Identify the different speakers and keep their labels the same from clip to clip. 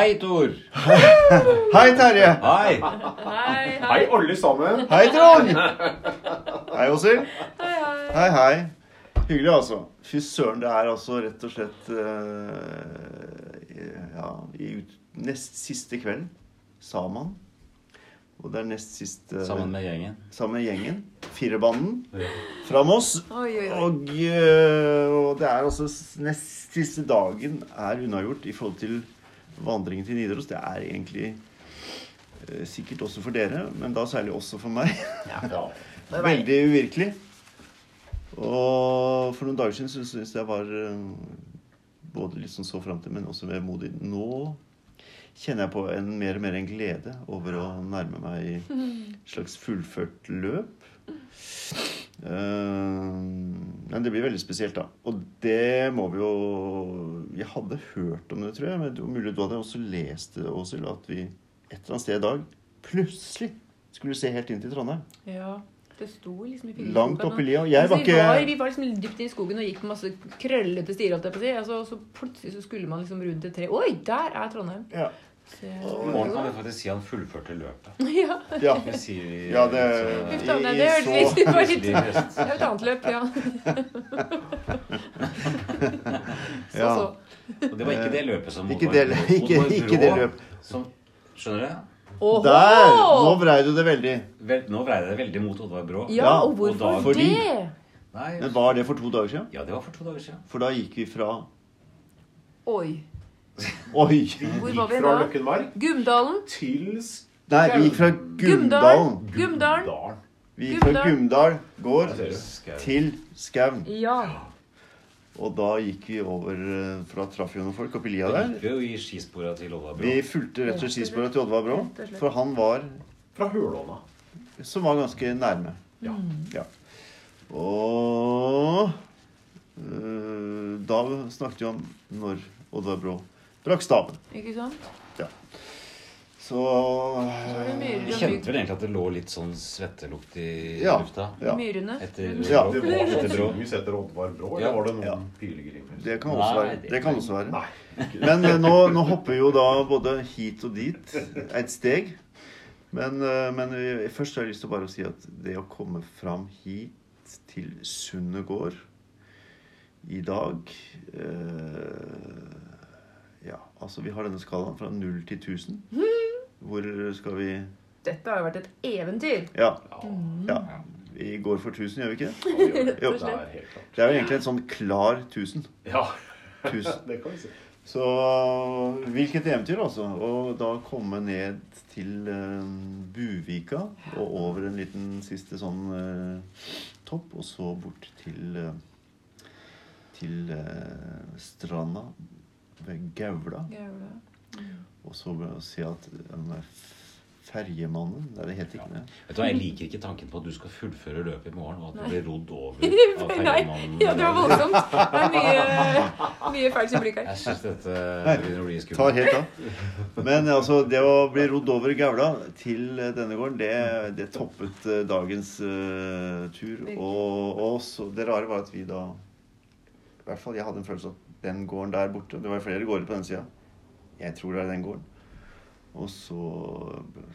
Speaker 1: Hei, Tor.
Speaker 2: Hei, Terje.
Speaker 1: Hei.
Speaker 3: Hei, hei.
Speaker 4: Hei, alle sammen.
Speaker 2: Hei, Trond. Hei, Åshild.
Speaker 3: hei, hei.
Speaker 2: Hei, hei. Hyggelig, altså. Fy søren, det er altså rett og slett eh, Ja, i ut, nest siste kvelden. Saman. Og det er nest siste
Speaker 1: Sammen med gjengen.
Speaker 2: sammen med gjengen. Firebanden fra Moss.
Speaker 3: Oi, oi, oi.
Speaker 2: Og, eh, og det er altså s- nest siste dagen er unnagjort i forhold til vandringen til Nidaros. Det er egentlig eh, sikkert også for dere, men da særlig også for meg.
Speaker 4: Ja.
Speaker 2: Veldig uvirkelig. Og for noen dager siden så syns jeg var eh, både litt sånn så fram til, men også vemodig. Nå kjenner jeg på en mer og mer en glede over å nærme meg et slags fullført løp. Eh, men det blir veldig spesielt, da. Og det må vi jo Jeg hadde hørt om det, tror jeg. Men det var mulig du hadde også lest det, Åshild, at vi et eller annet sted i dag plutselig skulle se helt inn til Trondheim.
Speaker 3: Ja, det sto liksom i fingerskogen.
Speaker 2: Langt opp i lia. Og
Speaker 3: Altså,
Speaker 2: jeg var
Speaker 3: vi, var,
Speaker 2: ikke
Speaker 3: vi var liksom dypt inn i skogen og gikk på masse krøllete stier. holdt jeg på å si, Altså, og så, så plutselig så skulle man liksom rundt et tre. Oi, der er Trondheim!
Speaker 2: ja.
Speaker 3: Så,
Speaker 1: I morgen kan vi faktisk si han fullførte løpet.
Speaker 3: ja,
Speaker 2: Ja.
Speaker 1: Det sier vi.
Speaker 2: Ja, det-
Speaker 1: så-
Speaker 3: Uff da, nei,
Speaker 2: I-
Speaker 3: det
Speaker 2: i
Speaker 3: hørtes
Speaker 2: så-
Speaker 3: litt det var litt-
Speaker 1: Plutselig
Speaker 3: Det
Speaker 1: høst.
Speaker 3: er et annet løp, ja. Så,
Speaker 2: Ja.
Speaker 3: så.
Speaker 1: Og det var ikke det løpet som
Speaker 2: Ikke
Speaker 1: Oddvar
Speaker 2: det-
Speaker 1: Brå-
Speaker 2: ikke-
Speaker 1: Oddvar
Speaker 2: ikke det
Speaker 1: Brå
Speaker 2: løp.
Speaker 1: Som, skjønner du?
Speaker 3: Åhå!
Speaker 2: Der! Nå vrei du det veldig.
Speaker 1: Vel, nå vrei det veldig mot Oddvar Brå.
Speaker 3: Ja,
Speaker 2: Ja,
Speaker 3: og hvorfor
Speaker 1: og da-
Speaker 2: fordi-
Speaker 3: det?
Speaker 1: Nei,
Speaker 2: Men var det for to dager siden?
Speaker 1: ja, det var for to dager siden.
Speaker 2: For da gikk vi fra
Speaker 3: Oi.
Speaker 2: Oi!
Speaker 3: Hvor
Speaker 4: Gikk
Speaker 3: var vi
Speaker 4: fra
Speaker 3: da?
Speaker 4: Løkkenmark
Speaker 3: Gumdalen?
Speaker 4: til
Speaker 2: Nei, vi gikk fra Gumdalen.
Speaker 3: Gumdalen? Gumdalen?
Speaker 4: Dalen.
Speaker 2: Vi gikk fra Gumdal gård til Skaun.
Speaker 3: Ja.
Speaker 2: Og da gikk vi over eh, For da traff vi jo noen folk oppi lia
Speaker 1: Da
Speaker 2: der.
Speaker 1: gikk vi jo i skisporene til Oddvar
Speaker 2: Vi
Speaker 1: Brå.
Speaker 2: fulgte rett og slett skisporet til Oddvar Brå, for han var
Speaker 4: Fra Hølåna.
Speaker 2: som var ganske nærme.
Speaker 4: Ja.
Speaker 2: Ja. Og eh, da snakket vi om når Oddvar Brå brakk staven.
Speaker 3: Ikke sant?
Speaker 2: Så
Speaker 3: Så var det myrer
Speaker 1: Vi
Speaker 3: og
Speaker 1: kjente
Speaker 3: myr-
Speaker 1: vel egentlig at det lå litt sånn svettelukt i
Speaker 2: Ja.
Speaker 1: lufta
Speaker 2: ja.
Speaker 3: myrene.
Speaker 1: etter
Speaker 2: Ja.
Speaker 1: Brå.
Speaker 4: Det var
Speaker 1: Etter Brå.
Speaker 4: sannsynligvis etter Oddvar Brå,
Speaker 1: Ja.
Speaker 4: eller var det
Speaker 2: Ja.
Speaker 4: noen pilegrimer?
Speaker 2: Det kan også
Speaker 1: Nei,
Speaker 2: være.
Speaker 1: det
Speaker 2: Det
Speaker 1: kan-
Speaker 2: kan også være.
Speaker 4: Nei.
Speaker 2: Men eh, nå, nå hopper vi jo da både hit og dit et steg. Men, eh, men vi- først har jeg lyst til bare å si at det å komme fram hit til Sundet gård i dag eh, Ja, altså vi har denne skalaen fra 0 til 1000. Hvor skal vi
Speaker 3: Dette har jo vært et eventyr.
Speaker 2: Ja,
Speaker 4: Ja,
Speaker 2: ja. Vi går for 1000, gjør vi ikke det?
Speaker 4: ja,
Speaker 2: Jo.
Speaker 4: vi gjør det. Det er helt klart.
Speaker 2: Det er jo egentlig en sånn klar 1000.
Speaker 4: Ja,
Speaker 2: 1000.
Speaker 4: det kan vi si.
Speaker 2: Så hvilket eventyr, altså. Og da komme ned til eh, Buvika og over en liten siste sånn eh, topp, og så bort til eh, til eh, stranda ved Gaula.
Speaker 3: Jævla.
Speaker 2: Og så be- se at eh, den der f- ferjemannen Nei, det heter ikke det.
Speaker 1: Vet du hva, Jeg liker ikke tanken på at du skal fullføre løpet i morgen, og at du blir rodd over av
Speaker 3: Nei,
Speaker 1: ferjemannen.
Speaker 3: ja, det var voldsomt. Det er mye, mye feil symbolikk her.
Speaker 1: Jeg syns dette begynner å bli
Speaker 2: Tar
Speaker 1: skummelt.
Speaker 2: helt av. Men altså, det å bli rodd over Gaula til eh, denne gården, det, det toppet eh, dagens eh, tur.
Speaker 3: Virkelig.
Speaker 2: Og, og så, det rare var at vi da I hvert fall jeg hadde en følelse av at den gården der borte Det var jo flere gårder på den sida. Jeg tror det er den gården. Og så,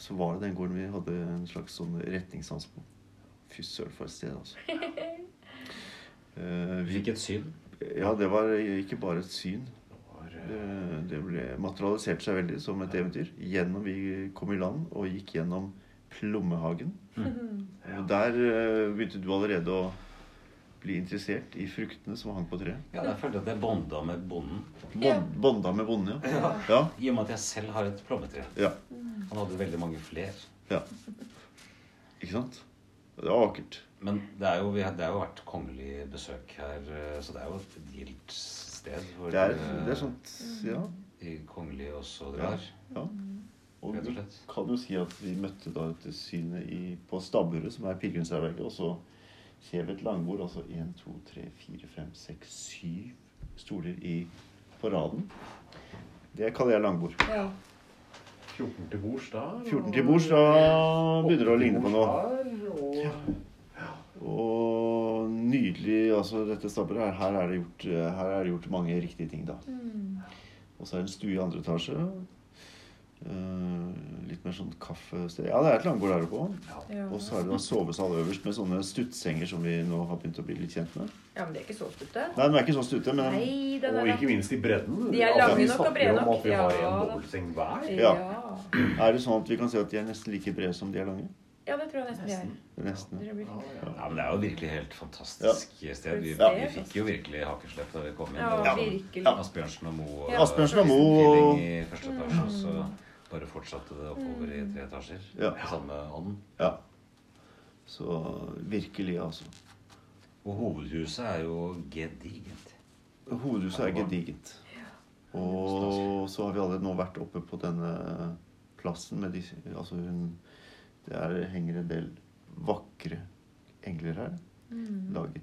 Speaker 2: så var det den gården vi hadde en slags sånn retningssans på. Fy søren, for et sted, altså. Eh,
Speaker 1: Vi
Speaker 2: vi,
Speaker 1: fikk et syn.
Speaker 2: ja, det var ikke bare et syn.
Speaker 4: Det var, eh,
Speaker 2: Det, det ble materialisert seg veldig som et eventyr. Gjennom Vi kom i land og gikk gjennom Plommehagen. Og der eh, begynte du allerede å bli interessert i fruktene som hang på treet.
Speaker 1: Ja, Jeg følte at jeg bonda med bonden,
Speaker 2: Bond,
Speaker 3: Ja.
Speaker 2: Bonda med bonden, ja. ja.
Speaker 1: i og med at jeg selv har et plommetre.
Speaker 2: Ja.
Speaker 1: Han hadde veldig mange fler.
Speaker 2: Ja. Ikke sant? Det var vakkert.
Speaker 1: Men det er jo, vi har- det er jo vært kongelig besøk her, eh, så det er jo et gildt sted hvor
Speaker 2: Det er,
Speaker 1: eh,
Speaker 2: det er sånt Ja.
Speaker 1: de kongelige også drar.
Speaker 2: ja. Og
Speaker 1: Rett og
Speaker 2: vi
Speaker 1: slett.
Speaker 2: kan jo si at vi møtte da dette synet i, på stabburet, som er pilegrimsherberget, og så ser vi et langbord, altså 1, 2, 3, 4, 5, 6, 7 stoler i, på raden. Det kaller jeg langbord.
Speaker 4: 14 til bords der.
Speaker 2: 14 til bords, da begynner det å ligne på noe.
Speaker 4: noe.
Speaker 2: Og nydelig, altså dette stabburet her, her er det gjort, her er det gjort mange riktige ting, da. Og så er det en stue i andre etasje. eh, litt mer sånn kaffested. Ja, det er et langgård der oppe òg.
Speaker 4: Ja.
Speaker 3: Ja.
Speaker 2: Og så er det da sovesal øverst med sånne stuttsenger som vi nå har begynt å bli litt kjent med.
Speaker 3: ja, men det er ikke så stutte.
Speaker 2: Nei, den er ikke så stute, men den,
Speaker 3: Nei, det
Speaker 4: Og
Speaker 3: der
Speaker 4: ikke minst i bredden.
Speaker 3: De er
Speaker 4: Altså,
Speaker 2: lange
Speaker 4: vi
Speaker 3: nok og
Speaker 4: snakker
Speaker 3: brede
Speaker 4: om
Speaker 3: nok.
Speaker 4: at vi har en
Speaker 3: Ja, da.
Speaker 4: dobbeltseng hver.
Speaker 3: ja.
Speaker 2: er det sånn at vi kan si at de er nesten like brede som de er lange?
Speaker 3: ja, det tror jeg nesten de er.
Speaker 2: Nesten.
Speaker 3: Dere blir-
Speaker 1: Ja, men Det er jo virkelig helt fantastisk sted. Vi,
Speaker 3: Ja.
Speaker 1: vi fikk jo virkelig hakeslepp da vi kom inn.
Speaker 3: altså. Ja,
Speaker 1: Det var
Speaker 3: virkelig.
Speaker 1: Asbjørnsen og Moe. og-
Speaker 3: Ja.
Speaker 2: Asbjørnsen og Mm. Moe og-
Speaker 1: Stilling I første etasje, og så bare fortsatte det oppover i tre etasjer.
Speaker 2: Ja.
Speaker 1: I samme ånd.
Speaker 2: Ja. Så virkelig, altså.
Speaker 1: Og hovedhuset er jo gedigent.
Speaker 2: Hovedhuset er gedigent. Og så har vi alle nå vært oppe på denne plassen med de Altså hun Det er, henger en del vakre engler her. Laget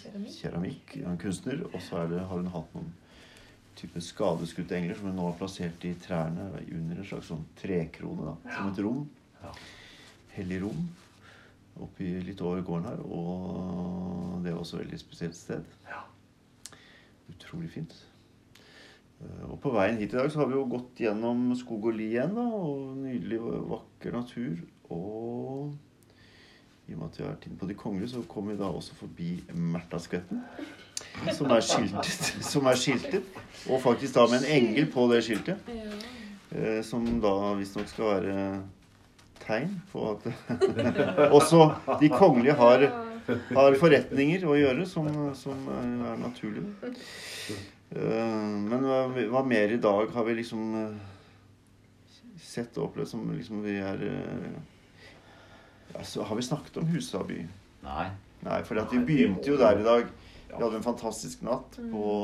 Speaker 3: Keramikk.
Speaker 2: keramikk av en kunstner. Og så er det, har hun hatt noen type skadeskutte engler som hun nå har plassert i trærne under en slags sånn trekrone. Da, som et rom.
Speaker 1: Ja.
Speaker 2: Hellig rom. Oppi litt over gården her. Og det er også et veldig spesielt sted.
Speaker 4: Ja.
Speaker 2: Utrolig fint. Eh, Og på veien hit i dag så har vi jo gått gjennom skog og li igjen, da. Og nydelig, vakker natur. Og i og med at vi har vært inne på De kongelige, så kom vi da også forbi Märthaskvetten. Som er skiltet. Som er skiltet. Og faktisk da med en engel på det skiltet.
Speaker 3: Ja.
Speaker 2: eh, Som da visstnok skal være tegn på at Også de kongelige har har forretninger å gjøre som, som er naturlig. Eh, Men hva, hva mer i dag har vi liksom eh, sett og opplevd som liksom vi er eh, altså, Har vi snakket om Husaby?
Speaker 1: Nei.
Speaker 2: Nei, for at vi
Speaker 4: Nei, det må
Speaker 2: begynte jo
Speaker 4: vi
Speaker 2: der
Speaker 4: jo.
Speaker 2: i dag.
Speaker 4: Ja.
Speaker 2: Vi hadde en fantastisk natt på,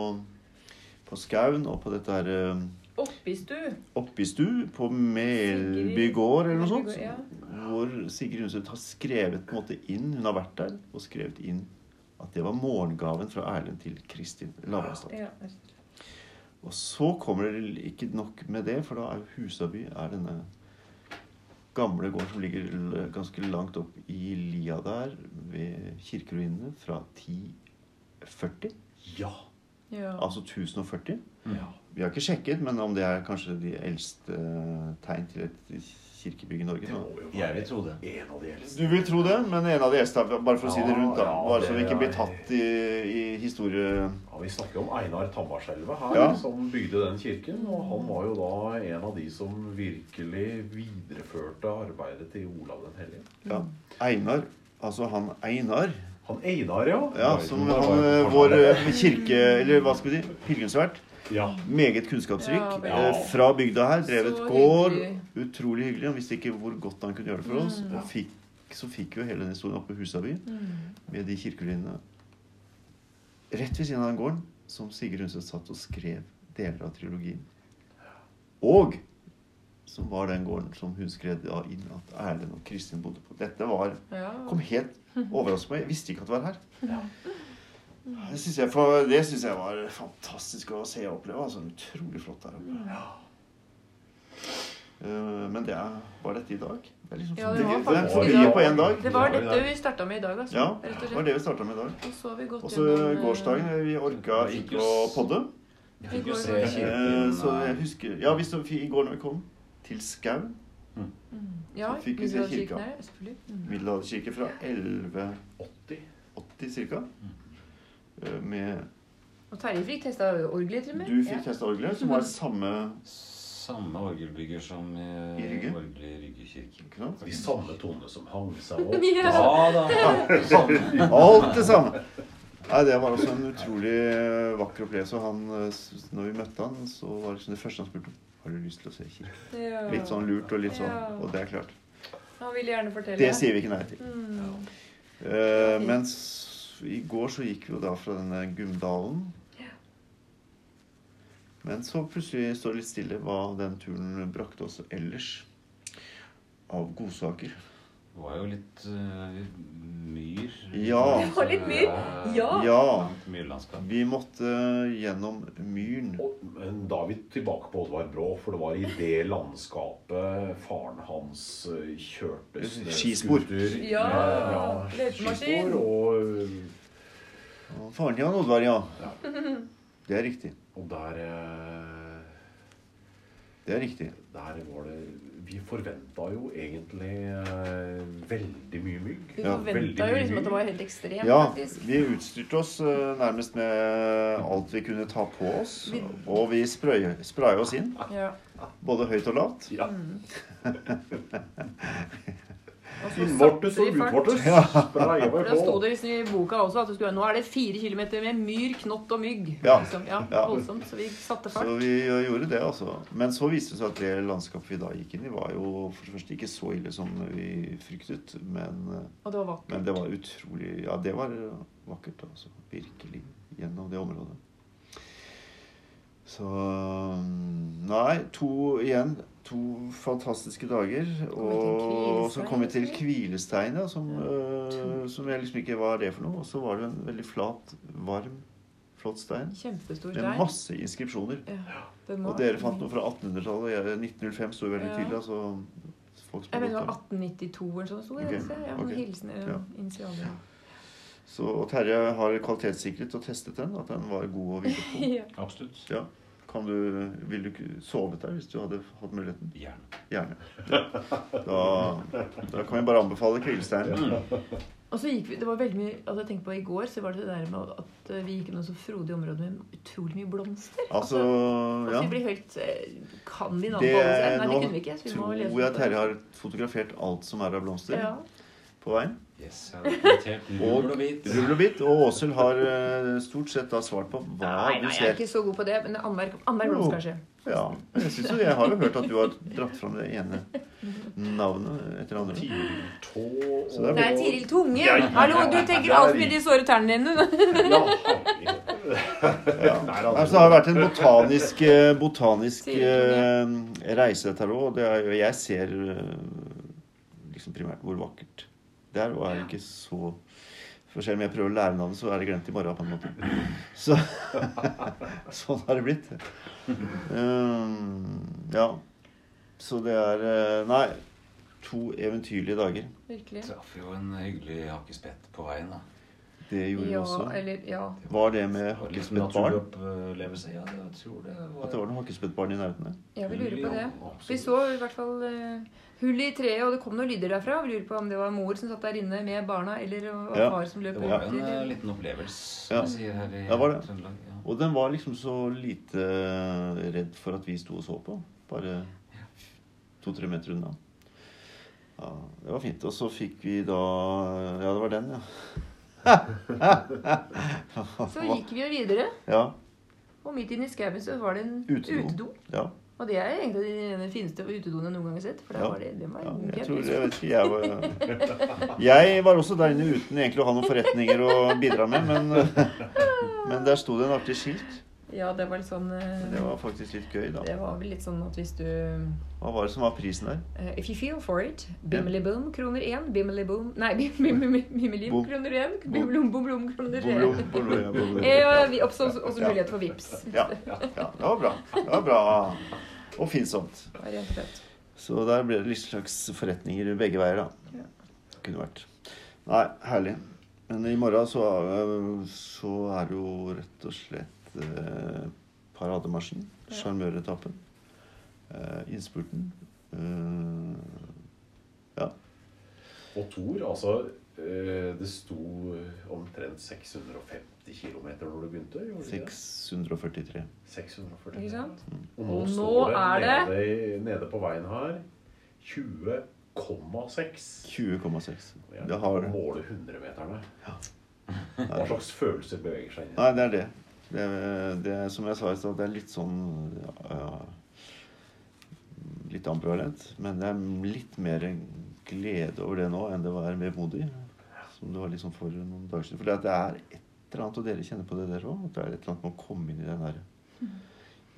Speaker 2: på Skaun og på dette her eh,
Speaker 3: Oppistu.
Speaker 2: Oppistu på Melby
Speaker 3: Sigrid-
Speaker 2: gård eller noe sånt.
Speaker 3: Melby gård, ja.
Speaker 2: Hvor Sigrid Undset har skrevet på en måte inn Hun har vært der og skrevet inn at det var morgengaven fra Erlend til Kristin Lavransdal.
Speaker 3: Ja.
Speaker 2: Og så kommer det ikke nok med det, for da er jo Husaby er denne gamle gården som ligger l- ganske langt opp i lia der, ved kirkeruinene, fra 1040.
Speaker 4: Ja.
Speaker 3: Ja.
Speaker 2: Altså 1040.
Speaker 4: ja.
Speaker 2: Vi har ikke sjekket, men om det er kanskje de eldste eh, tegn til et kirkebygg i Norge.
Speaker 4: Det
Speaker 2: Da.
Speaker 4: må jo
Speaker 1: Jeg
Speaker 4: være
Speaker 1: vil tro det.
Speaker 4: en av de eldste.
Speaker 2: Du vil tro det, men en av de eldste, er- bare for å si det
Speaker 4: Ja,
Speaker 2: rundt, da.
Speaker 4: ja,
Speaker 2: Bare så
Speaker 4: det
Speaker 2: vi ikke
Speaker 4: er-
Speaker 2: blir tatt i, i historie...
Speaker 4: Ja, vi snakker om Einar Tambarskjelvet her,
Speaker 2: Ja.
Speaker 4: som bygde den kirken. Og han var jo da en av de som virkelig videreførte arbeidet til Olav den hellige.
Speaker 2: Ja. Mm. Einar, altså han Einar,
Speaker 4: Han Einar, ja.
Speaker 2: ja,
Speaker 4: Var jo-
Speaker 2: som
Speaker 4: var jo-
Speaker 2: han, eh, vår eh, kirke... Eller hva skal vi si? Pilegrimsvert.
Speaker 4: Ja.
Speaker 2: Meget kunnskapsrik.
Speaker 3: Ja,
Speaker 2: eh,
Speaker 4: veldig.
Speaker 2: Fra bygda her. Drevet
Speaker 3: Så
Speaker 2: gård.
Speaker 3: hyggelig. Mm.
Speaker 2: Utrolig hyggelig. Han visste ikke hvor godt han kunne gjøre det for oss. Og fikk, så fikk vi jo hele den historien oppe på Husaby med de kirkelinjene. Rett ved siden av den gården som Sigurd Undset satt og skrev deler av trilogien. Og som var den gården som hun skrev da inn at Erlend og Kristin bodde på. Dette var
Speaker 3: Ja.
Speaker 2: kom helt overraskende på meg. Jeg visste ikke at det var her. Det syns jeg, for- det synes jeg var fantastisk å se og oppleve. Altså, utrolig flott der oppe. Eh, Men det er, var dette i dag. Det er liksom
Speaker 3: Ja, det
Speaker 2: det, det,
Speaker 3: var
Speaker 2: er
Speaker 3: faktisk
Speaker 2: for
Speaker 3: i
Speaker 2: mye
Speaker 3: dag.
Speaker 2: på én dag.
Speaker 3: Det var dette vi starta med i dag, altså.
Speaker 2: Ja,
Speaker 3: Rett
Speaker 2: det
Speaker 3: og
Speaker 2: var
Speaker 3: slett.
Speaker 2: det vi starta med i dag.
Speaker 3: Og så har vi gått
Speaker 2: Også
Speaker 3: gjennom, eh,
Speaker 2: gårsdagen. Vi orka ikke å podde.
Speaker 1: Jeg
Speaker 3: Vi
Speaker 1: fikk jo
Speaker 3: går
Speaker 1: se
Speaker 3: over.
Speaker 2: Eh, Så jeg
Speaker 1: kirken.
Speaker 2: husker Ja, vi så i går når vi kom til Skau,
Speaker 3: Ja,
Speaker 2: så fikk vi se
Speaker 3: Middelalderkirken
Speaker 2: kirka.
Speaker 3: her, selvfølgelig. Mm.
Speaker 2: middelalderkirke fra 1180
Speaker 4: 80.
Speaker 2: ca. eh, Med
Speaker 3: Og Terje fikk testa orgelet til og med.
Speaker 2: Du fikk testa orgelet, som var samme
Speaker 1: Samme orgelbygger som i,
Speaker 2: I Rygge?
Speaker 1: orgelet i Rygge kirke.
Speaker 2: ikke sant?
Speaker 4: De samme tonene som hang seg opp.
Speaker 3: Ja.
Speaker 1: Ja da!
Speaker 4: Samme-
Speaker 2: Alt det samme! Nei, Det var også en utrolig eh, vakker opplevelse. og Han, eh, s- når vi møtte han, så var det liksom det første han spurte om. Har du lyst til å se kirke?
Speaker 3: Ja.
Speaker 2: Litt sånn lurt og litt sånn.
Speaker 3: Ja.
Speaker 2: Og det er klart.
Speaker 3: Han ville gjerne fortelle.
Speaker 2: Det sier vi ikke nei til.
Speaker 3: Mm.
Speaker 2: Eh, mens i går så gikk vi jo da fra denne Gumdalen. Men så plutselig står det litt stille hva den turen brakte oss ellers av godsaker.
Speaker 1: Det var jo litt eh, myr. Altså, eh,
Speaker 2: Ja.
Speaker 3: Det var litt myr. Ja.
Speaker 2: Ja,
Speaker 1: Myrlandskap.
Speaker 2: vi måtte gjennom Myren.
Speaker 4: Og- Men da er vi tilbake på Oddvar Brå, for det var i det landskapet faren hans eh, kjørte
Speaker 2: Skispor.
Speaker 4: snøscooter med-
Speaker 3: Ja,
Speaker 4: ja,
Speaker 3: løypemaskin.
Speaker 4: skispor. Og, eh,
Speaker 2: Og Faren til han Oddvar, ja. Det er riktig.
Speaker 4: og der eh,
Speaker 2: Det er riktig.
Speaker 4: Der var det Vi forventa jo egentlig eh, veldig mye mygg.
Speaker 3: Vi
Speaker 2: Ja,
Speaker 3: forventa
Speaker 4: veldig
Speaker 3: jo
Speaker 4: mye
Speaker 3: liksom at det var
Speaker 4: mygg.
Speaker 3: helt ekstremt,
Speaker 2: Ja,
Speaker 3: faktisk.
Speaker 2: vi utstyrte oss eh, nærmest med alt vi kunne ta på oss. Og vi sprøy, spraya oss inn,
Speaker 3: Ja.
Speaker 2: både høyt og lavt.
Speaker 4: Ja.
Speaker 3: Mm. Og så
Speaker 4: Innvortes
Speaker 3: satser
Speaker 4: og
Speaker 3: vi fart.
Speaker 4: utvortes. Spraya vi
Speaker 3: For Da
Speaker 4: på.
Speaker 3: sto det liksom i boka også at du skulle, nå er det fire kilometer med myr, knott og mygg.
Speaker 2: Ja.
Speaker 3: Liksom. ja,
Speaker 2: Ja.
Speaker 3: voldsomt. Så vi satte
Speaker 2: Så
Speaker 3: fart.
Speaker 2: vi gjorde det, altså. Men så viste det seg at det landskapet vi da gikk inn i, var jo for det første ikke så ille som vi fryktet. Men, eh,
Speaker 3: Og det var vakkert.
Speaker 2: men det var utrolig Ja, det var vakkert, altså. Virkelig. Gjennom det området. Så um, Nei, to igjen. To fantastiske dager. Og så kom vi til Kvilestein, ja. Som, øh, som jeg liksom ikke var det for noe. Og så var det en veldig flat, varm, flott stein.
Speaker 3: Kjempestor
Speaker 2: Med
Speaker 3: stein.
Speaker 2: masse inskripsjoner.
Speaker 3: Ja, den var-
Speaker 2: Og dere fant noe fra 1800-tallet. jeg- 1905 sto veldig
Speaker 3: Ja.
Speaker 2: tydelig. Altså, folk
Speaker 3: Jeg
Speaker 2: som
Speaker 3: mener det
Speaker 2: har
Speaker 3: var
Speaker 2: gått der.
Speaker 3: 1892 eller sånn. sto det,
Speaker 2: Ok,
Speaker 3: altså. Ja, noen
Speaker 2: ok.
Speaker 3: hilsener,
Speaker 2: Ja.
Speaker 3: initialer.
Speaker 2: Så og Terje har kvalitetssikret og testet den. At den var god å hvile på.
Speaker 3: Ja.
Speaker 1: Absolutt.
Speaker 2: Ja. Kan du, vil du ikke sovet der hvis du hadde hatt muligheten?
Speaker 1: Gjerne.
Speaker 2: Gjerne. Da, da kan jeg bare anbefale Kvilsteinen.
Speaker 3: Og så gikk vi, det var veldig mye, altså jeg tenkte på I går så var det det der med at eh, vi gikk gjennom så frodig område med utrolig mye blomster.
Speaker 2: Altså,
Speaker 3: altså
Speaker 2: ja.
Speaker 3: vi blir helt eh, Kan vi navnet
Speaker 2: Det,
Speaker 3: på alle stedene? Nei,
Speaker 2: nå
Speaker 3: det kunne vi ikke. Så vi må
Speaker 2: tror
Speaker 3: lese
Speaker 2: jeg
Speaker 3: opp det.
Speaker 2: Terje har fotografert alt som er av blomster
Speaker 3: ja.
Speaker 2: på veien.
Speaker 1: Yes, jeg hadde notert
Speaker 2: Og
Speaker 1: rull og bit.
Speaker 2: rull og bit. Og Åshild har eh, stort sett da svart på hva
Speaker 3: Nei,
Speaker 2: du
Speaker 3: nei, jeg
Speaker 2: ser.
Speaker 3: er ikke så god på det. Men anmerk anmerk
Speaker 2: Jo.
Speaker 3: blomst, kanskje.
Speaker 2: Ja, men jeg, synes jo, jeg har jo hørt at du har dratt fram det ene navnet etter det andre.
Speaker 4: Tiril tå
Speaker 2: Så det er
Speaker 4: og
Speaker 3: Nei, Tiril Tunge.
Speaker 4: Ja, ja.
Speaker 3: Hallo, du tenker altfor mye de såre tærne dine.
Speaker 4: Ja, herregud.
Speaker 2: Ja.
Speaker 4: Nei,
Speaker 2: Nei, så Altså, det har vært en botanisk, eh, botanisk eh, reise dette her også, og det er, jo- jeg ser eh, liksom primært hvor vakkert det er, og er ikke så for selv om jeg prøver å lære navnet, så er det glemt i morgen på en måte. Så, sånn har det blitt. Eh, ja. Så det er eh, Nei, to eventyrlige dager.
Speaker 3: Virkelig.
Speaker 1: Traff jo en hyggelig hakkespett på veien, da.
Speaker 2: Det gjorde vi
Speaker 3: Ja,
Speaker 2: også.
Speaker 3: eller ja.
Speaker 2: Var det
Speaker 1: Det
Speaker 2: med
Speaker 1: var litt
Speaker 2: hakkespettbarn?
Speaker 1: naturopplevelse. Ja, det, jeg tror det var
Speaker 2: At det var noen hakkespettbarn i nærheten der?
Speaker 3: Ja, vi lurer på det.
Speaker 1: Ja, absolutt.
Speaker 3: Vi så i hvert fall eh, hullet i treet, og det kom noen lyder derfra. Vi lurer på om det var mor som satt der inne med barna, eller om det var
Speaker 2: Ja.
Speaker 3: far som løp
Speaker 1: Det var
Speaker 3: rundt.
Speaker 1: jo en eh,
Speaker 3: eller-
Speaker 1: liten opplevelse,
Speaker 2: Ja.
Speaker 1: som vi sier her i
Speaker 2: Ja, var det.
Speaker 1: Trøndelag. Ja.
Speaker 2: Og den var liksom så lite eh, redd for at vi sto og så på. Bare to-tre meter unna. Ja, Det var fint. Og så fikk vi da Ja, det var den, ja.
Speaker 3: Så gikk vi jo videre,
Speaker 2: Ja.
Speaker 3: og midt inne i skauen så var det en
Speaker 2: Utedo.
Speaker 3: utedo.
Speaker 2: ja,
Speaker 3: Og det er egentlig den fineste utedoen jeg noen gang har sett. For der
Speaker 2: Ja.
Speaker 3: var det, det var
Speaker 2: ja.
Speaker 3: en
Speaker 2: Jeg tror
Speaker 3: kjempe-
Speaker 2: Jeg vet ikke, jeg var Jeg var også der inne uten egentlig å ha noen forretninger å bidra med, men, men der sto det en artig skilt.
Speaker 3: Ja, det var litt sånn eh,
Speaker 2: Det var faktisk litt gøy, da.
Speaker 3: Det var vel litt sånn at hvis du
Speaker 2: Hva var det som var prisen der?
Speaker 3: eh, If you feel for it, bimmeli boom, kroner én. Bimmeli boom Nei, bim- bim- bim- bimmeli
Speaker 2: Bom.
Speaker 3: kroner én. Bimlom, bom, bom, kroner
Speaker 2: Bom,
Speaker 3: én.
Speaker 2: bom, bom, bom, bom, bom.
Speaker 3: Ja, vi også, også mulighet for vips.
Speaker 2: Ja, ja, det var bra. Det var bra og finsomt.
Speaker 3: Det var rent og slett.
Speaker 2: Så der ble det litt slags forretninger begge veier, da. Kunne vært. Nei, herlig. Men i morgen så, er- så er det jo rett og slett eh, parademarsjen. Sjarmøretappen. Eh, innspurten. Eh, ja.
Speaker 4: Og Thor, altså eh, Det sto eh, omtrent 650 km når det begynte. gjorde det ikke det?
Speaker 2: 643.
Speaker 4: 640.
Speaker 3: Ikke sant?
Speaker 4: Og nå,
Speaker 3: Og nå
Speaker 4: står det,
Speaker 3: er det-
Speaker 4: Nede, i- nede på veien her 20,6.
Speaker 2: 20,6.
Speaker 4: Jeg
Speaker 2: Det har
Speaker 4: Måle 100-meterne.
Speaker 2: Nei.
Speaker 4: Hva slags følelser beveger seg inn i
Speaker 2: Nei, det er det. Det, er, det er, som jeg sa i stad, det er litt sånn ja, ja, Litt ambivalent. Men det er litt mer glede over det nå enn det var vemodig. Som det var liksom for noen dager siden. For det er et eller annet, og dere kjenner på det der òg, at det er et eller annet med å komme inn i den der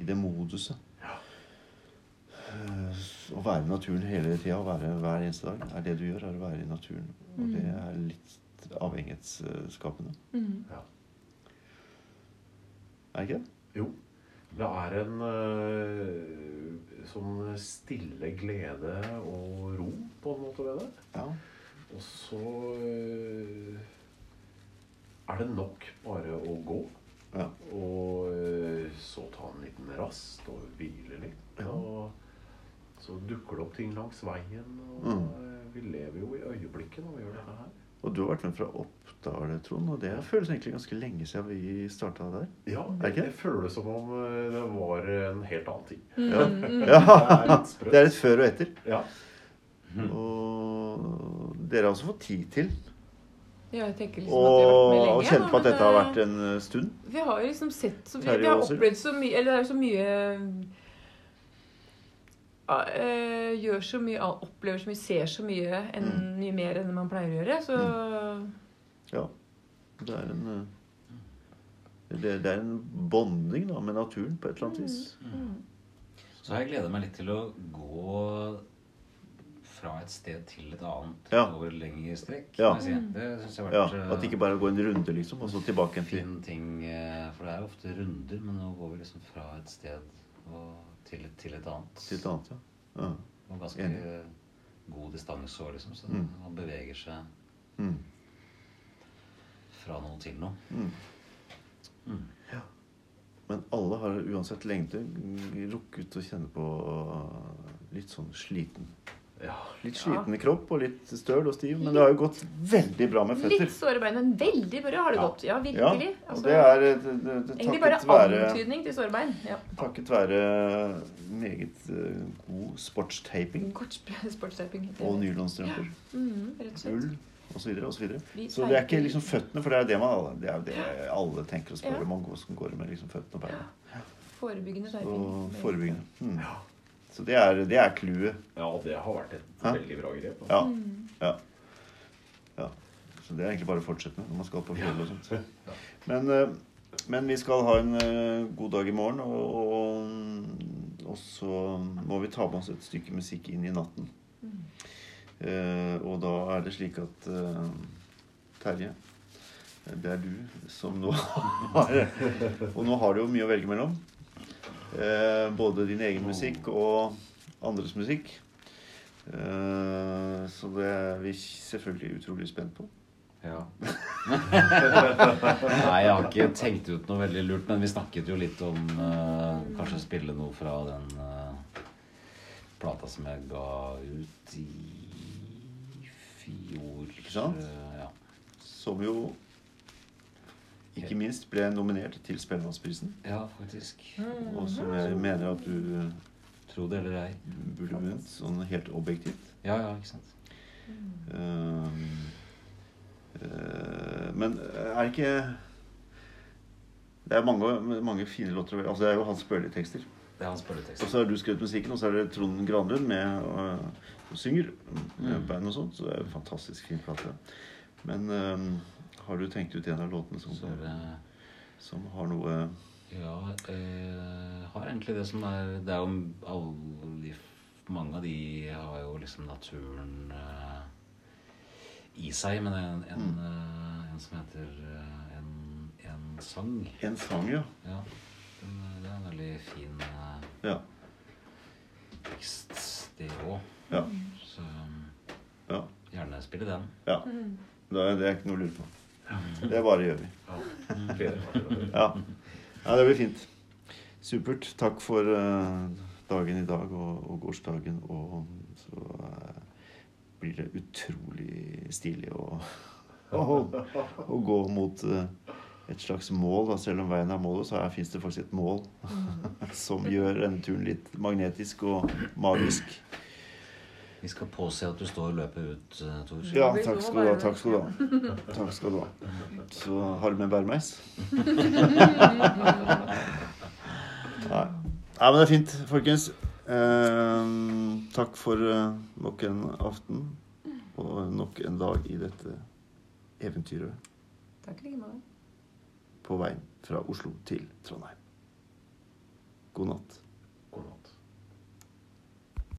Speaker 2: I det moduset. Eh, Å være i naturen hele tida, være hver eneste dag, er det du gjør, er å være i naturen. Og det er litt avhengighetsskapende.
Speaker 3: Mm.
Speaker 4: Ja.
Speaker 2: Er det ikke det?
Speaker 4: Jo. Det er en eh, sånn stille glede og ro, på en måte, ved det.
Speaker 2: Ja.
Speaker 4: Og så eh, er det nok bare å gå.
Speaker 2: Ja.
Speaker 4: Og eh, så ta en liten rast og hvile litt.
Speaker 2: Ja.
Speaker 4: Og så dukker det opp ting langs veien. Og
Speaker 2: Mm.
Speaker 4: eh, vi lever jo i øyeblikket når vi gjør dette her.
Speaker 2: Og du har vært med fra Oppdal, Trond, og det føles egentlig ganske lenge siden vi starta der.
Speaker 4: Ja,
Speaker 2: Er det ikke?
Speaker 4: det føles som om eh, det var en helt annen ting.
Speaker 2: Ja.
Speaker 3: Mm.
Speaker 4: Mm. Det
Speaker 2: ja.
Speaker 4: er litt
Speaker 2: Det er
Speaker 4: sprøtt.
Speaker 2: litt før og etter.
Speaker 4: Ja.
Speaker 2: Og dere har også fått tid til
Speaker 3: Ja, jeg tenker liksom at jeg har vært
Speaker 2: å
Speaker 3: med lenge.
Speaker 2: å kjenne på
Speaker 3: da,
Speaker 2: at dette
Speaker 3: men,
Speaker 2: har
Speaker 3: eh,
Speaker 2: vært en eh, stund.
Speaker 3: Vi har jo liksom sett så, vi,
Speaker 2: Terje
Speaker 3: vi har
Speaker 2: Aaser.
Speaker 3: opplevd så mye Eller det er så mye ja, eh, Gjør så mye, al- opplever så mye, ser så mye enn,
Speaker 2: Mm.
Speaker 3: Mye mer enn man pleier å gjøre. Så
Speaker 2: Ja. Det er en eh, det, det er en bonding da, med naturen på et eller
Speaker 3: Mm.
Speaker 2: annet vis.
Speaker 1: Så har jeg gleda meg litt til å gå fra et sted til et annet
Speaker 2: Ja.
Speaker 1: over lengre strekk.
Speaker 2: Ja.
Speaker 1: må jeg si. Det syns jeg har
Speaker 2: Ja,
Speaker 1: vært eh,
Speaker 2: At det ikke bare går en runde, liksom, og så tilbake en fin
Speaker 1: fin ting. eh, For det er ofte runder, men nå går vi liksom fra et sted og til, et- til et annet.
Speaker 2: til et annet. Ja. Ja.
Speaker 1: Og ganske
Speaker 2: Enig.
Speaker 1: god distanse òg, liksom. Så
Speaker 2: Mm.
Speaker 1: man beveger seg
Speaker 2: Mm.
Speaker 1: fra noe til noe.
Speaker 2: Mm.
Speaker 1: Mm.
Speaker 2: Men alle har uansett lengde rukket å kjenne på eh, litt sånn sliten.
Speaker 4: ja.
Speaker 2: Litt
Speaker 3: Ja.
Speaker 2: sliten i kropp og litt støl og stiv, men det har jo gått veldig bra med føtter.
Speaker 3: Litt såre bein, men veldig bra har det
Speaker 4: Ja.
Speaker 3: gått. Ja,
Speaker 2: Ja,
Speaker 3: virkelig.
Speaker 2: og
Speaker 3: Altså,
Speaker 2: det er eh, det, det, det,
Speaker 3: egentlig bare
Speaker 2: takket være,
Speaker 3: antydning til såre bein. Ja.
Speaker 2: takket være meget eh, god sportstaping
Speaker 3: Kort sp- sportstaping. heter det.
Speaker 2: og nylonstrømper,
Speaker 3: Mhm, rett og slett.
Speaker 2: ull osv. osv.
Speaker 3: Vi
Speaker 2: Så det er ikke
Speaker 3: teiper-
Speaker 2: liksom føttene, for det er det, man, alle- det, er jo det alle tenker å spørre
Speaker 3: Ja.
Speaker 2: om. Hvordan går det med liksom føttene og beina?
Speaker 3: Forebyggende teiping.
Speaker 2: Og forebyggende. Mm. Så det er det er clouet.
Speaker 4: ja, det har vært et
Speaker 2: Hæ?
Speaker 4: veldig bra grep. altså. da.
Speaker 2: Ja.
Speaker 3: Mm.
Speaker 2: ja. ja. Så det er egentlig bare å fortsette med når man skal på fjell og sånt. Men, eh, men vi skal ha en eh, god dag i morgen, og, og, og så må vi ta med oss et stykke musikk inn i natten. Eh, og da er det slik at eh, Terje, eh, det er du som nå har Og nå har du jo mye å velge mellom. Eh, både din egen musikk og andres musikk. Eh, så det er vi selvfølgelig utrolig spent på.
Speaker 1: Ja. Nei, jeg har ikke tenkt ut noe veldig lurt, men vi snakket jo litt om eh, kanskje å spille noe fra den eh, plata som jeg ga ut i fjor.
Speaker 2: Ikke sant?
Speaker 1: Eh, ja.
Speaker 2: Som jo ikke minst ble nominert til Spellemannsprisen.
Speaker 1: ja, faktisk.
Speaker 3: Mm.
Speaker 2: Og som jeg mener at du
Speaker 1: Tro det eller ei.
Speaker 2: burde vunnet, sånn helt objektivt.
Speaker 1: Ja, ja, ikke sant.
Speaker 3: Mm.
Speaker 2: Ehm, eh, men er det ikke Det er mange, mange fine låter. å velge- Altså, det er jo Hans Børli-tekster.
Speaker 1: Det er hans
Speaker 2: Og
Speaker 1: spørretekst.
Speaker 2: så har du skrevet musikken, og så er det Trond Granlund med og, og synger med
Speaker 1: Mm.
Speaker 2: band og sånt. Så det er en fantastisk fin plate. Men ehm, har du tenkt ut en av låtene som,
Speaker 1: Så er det
Speaker 2: som har noe
Speaker 1: Ja, eh, har egentlig det som er Det er jo alle de Mange av de har jo liksom naturen eh, i seg, men en, en,
Speaker 2: Mm.
Speaker 1: eh, en som heter eh, en, en sang
Speaker 2: En sang, ja.
Speaker 1: Ja. Den, eh, det er en veldig fin eh,
Speaker 2: Ja.
Speaker 1: tekst, det òg.
Speaker 2: Ja.
Speaker 1: Så eh,
Speaker 2: ja.
Speaker 1: gjerne spille den.
Speaker 2: ja.
Speaker 3: Mm.
Speaker 2: Det, er, det er ikke noe å lure på. Det bare gjør vi.
Speaker 4: Ja. Gleder meg til det.
Speaker 2: Ja. ja, det blir fint. Supert. Takk for eh, dagen i dag og, og gårsdagen. Og så eh, blir det utrolig stilig å, å, å gå mot eh, et slags mål. Da. Selv om veien er målet, så fins det faktisk et mål som gjør denne turen litt magnetisk og magisk.
Speaker 1: Vi skal påse at du står løpet ut, eh, Tor.
Speaker 2: Ja, takk skal du ha. Takk skal du ha. Takk skal du ha. Så har du med bærmeis? Nei. Nei, men det er fint, folkens. Ehm, takk for eh, nok en aften og nok en dag i dette eventyret
Speaker 3: Takk i like måte.
Speaker 2: på veien fra Oslo til Trondheim. God natt.